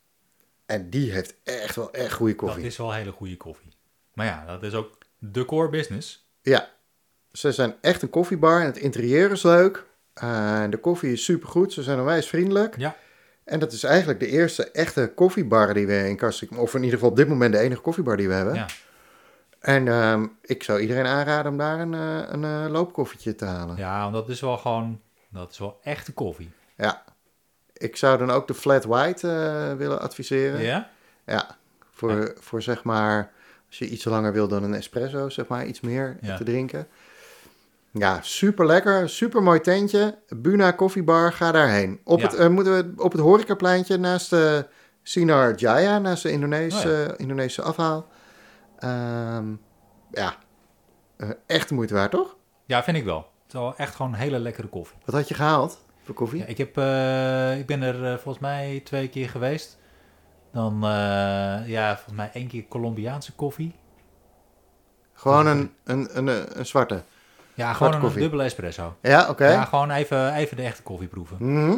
En die heeft echt wel echt goede koffie.
Dat is wel hele goede koffie. Maar ja, dat is ook de core business.
Ja, ze zijn echt een koffiebar en het interieur is leuk. Eh, de koffie is supergoed, ze zijn onwijs vriendelijk.
Ja.
En dat is eigenlijk de eerste echte koffiebar die we in Kastrikum... of in ieder geval op dit moment de enige koffiebar die we hebben.
Ja.
En ehm, ik zou iedereen aanraden om daar een, eh, een eh, loopkoffietje te halen.
Ja, want dat is wel gewoon, dat is wel echte koffie.
Ja. Ik zou dan ook de flat white eh, willen adviseren.
Ja?
Ja, voor, voor zeg maar, als je iets langer wil dan een espresso, zeg maar, iets meer
Ja.
te drinken. Ja, super lekker, super mooi tentje. Buna Koffiebar, ga daarheen. Op,
Ja.
het, eh, moeten we, op het horecapleintje naast de Sinar Jaya, naast de Indonesische,
Oh
Indonesische afhaal. Ehm, ja, Eh, echt de moeite waard, toch?
Ja, vind ik wel. Het is wel echt gewoon hele lekkere koffie.
Wat had je gehaald voor koffie?
Ja, ik, heb, eh, ik ben er eh, volgens mij twee keer geweest. Dan, eh, ja, volgens mij één keer Colombiaanse koffie.
Gewoon een, een, een, een, een zwarte.
Ja, gewoon een
koffie.
dubbele espresso.
Ja, oké.
Ja, gewoon even, even de echte koffie proeven.
Mhm.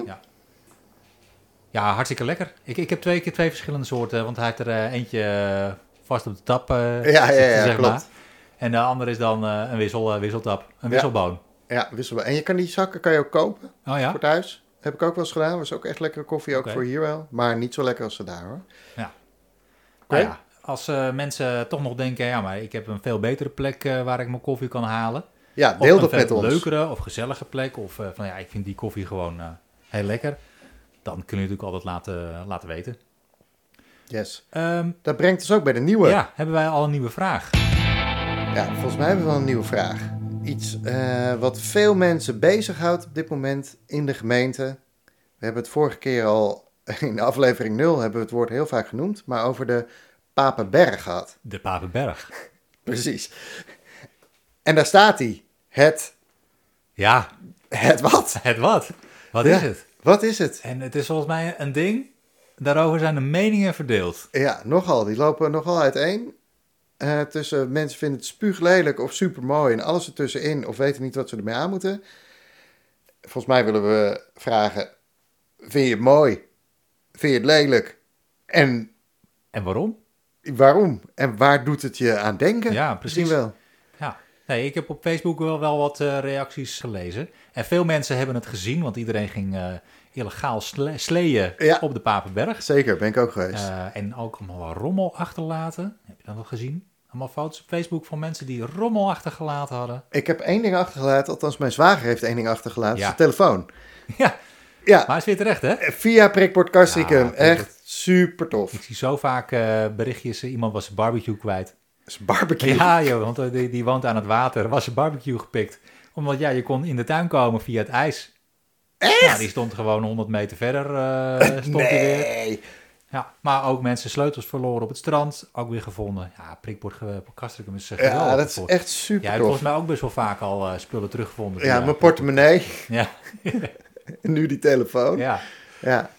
Ja, hartstikke lekker. Ik, ik heb twee keer twee verschillende soorten, want hij heeft er eh, eentje eh, vast op de tap. eh,
Ja, ja,
zitten,
ja,
zeg
klopt.
maar. En de andere is dan eh, een wissel, eh, wisseltap, een wisselboon.
ja, wisselbaar. En je kan die zakken kan je ook kopen.
Oh ja?
voor thuis. Heb ik ook wel eens gedaan. Was ook echt lekkere koffie, ook
Oké.
voor hier wel. Maar niet zo lekker als ze daar hoor. Oké.
Nou ja, als eh, mensen toch nog denken, ja, maar ik heb een veel betere plek eh, waar ik mijn koffie kan halen.
Ja,
Of
deel
een
dat met
veel
ons.
leukere of gezellige plek. Of eh, van ja, ik vind die koffie gewoon eh, heel lekker. Dan kun je natuurlijk altijd laten, laten weten.
Yes.
Ehm,
Dat brengt ons ook bij de nieuwe. Ja.
ja, hebben wij al een nieuwe vraag?
volgens mij hebben we wel een nieuwe vraag. Iets eh, wat veel mensen bezighoudt op dit moment in de gemeente. We hebben het vorige keer al in de aflevering 0 hebben we het woord heel vaak genoemd, maar over de Papenberg gehad.
De Papenberg.
Precies. En daar staat hij. Het,
Ja,
het wat?
het wat? Wat
Ja.
is het?
Wat is het?
En het is volgens mij een ding. Daarover zijn de meningen verdeeld.
Ja, nogal. Die lopen nogal uiteen. Eh, tussen mensen vinden het spuuglelijk of supermooi en alles ertussenin of weten niet wat ze ermee aan moeten. Volgens mij willen we vragen, vind je het mooi? Vind je het lelijk? En
En waarom?
waarom? En waar doet het je aan denken?
Ja, precies.
Misschien wel.
Ja. Nee, ik heb op Facebook wel, wel wat eh, reacties gelezen. En veel mensen hebben het gezien, want iedereen ging eh, illegaal sle- sleeën
Ja.
op de Papenberg.
Zeker, ben ik ook geweest.
Eh, en ook allemaal wat rommel achterlaten. Heb je dat wel gezien? Allemaal foto's op Facebook van mensen die rommel achtergelaten hadden.
Ik heb één ding achtergelaten, althans mijn zwager heeft één ding achtergelaten,
Ja.
zijn telefoon.
ja,
Ja,
maar is weer terecht, hè?
via prikbord Castricum.
Ja,
Echt super tof.
Ik zie zo vaak eh, berichtjes, eh, iemand was zijn barbecue kwijt.
is barbecue.
Ja, joh, want eh, die, die woont aan het water. Er was een barbecue gepikt. Omdat ja, je kon in de tuin komen via het ijs. Echt? Ja, die stond gewoon 100 meter verder. eh, stond die weer.
nee.
Ja, maar ook mensen sleutels verloren op het strand. Ook weer gevonden. Ja, prikbord ge- Castricum is eh,
Ja,
geweldig
dat is
voor.
echt super
Jij hebt
tof.
volgens mij ook best wel vaak al eh, spullen teruggevonden.
Ja,
via
mijn
prikbord.
portemonnee
Ja,
en nu die telefoon. Ja.
ja.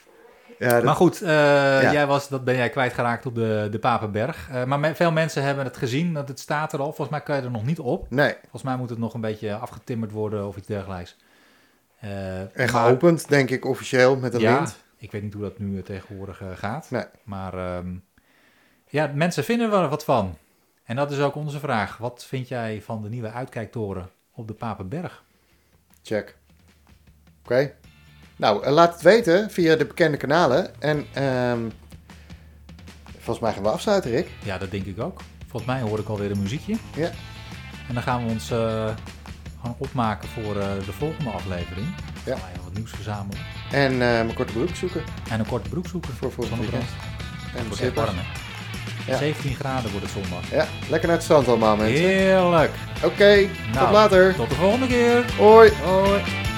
ja. dat-
Maar goed, eh,
Ja.
jij was, dat ben jij kwijtgeraakt op de, de Papenberg. Eh, maar me- veel mensen hebben het gezien, dat het staat er al. Volgens mij kan je er nog niet op.
Nee,
Volgens mij moet het nog een beetje afgetimmerd worden of iets dergelijks. Eh,
en
maar-
geopend, denk ik, officieel met een
ja,
lint.
Ik weet niet hoe dat nu eh, tegenwoordig eh, gaat.
Nee.
Maar ehm, ja, mensen vinden er wat van. En dat is ook onze vraag. Wat vind jij van de nieuwe uitkijktoren op de Papenberg?
Check. Oké. Nou, eh, laat het weten via de bekende kanalen. En ehm, volgens mij gaan we afsluiten, Rick.
Ja, dat denk ik ook. Volgens mij hoor ik alweer een muziekje.
Ja.
En dan gaan we ons eh, gaan opmaken voor eh, de volgende aflevering.
Ja.
Gaan we even wat nieuws verzamelen.
En eh, mijn korte broek zoeken
En een korte broek zoeken.
voor volgend
Zonnebrand.
weekend.
Het
En
wordt echt
slippers.
warm, hè?
Ja.
17 graden wordt het zondag.
Ja, lekker naar het strand allemaal, mensen.
Heerlijk.
Oké, tot
Nou,
later.
Tot de volgende keer.
Hoi.
Hoi.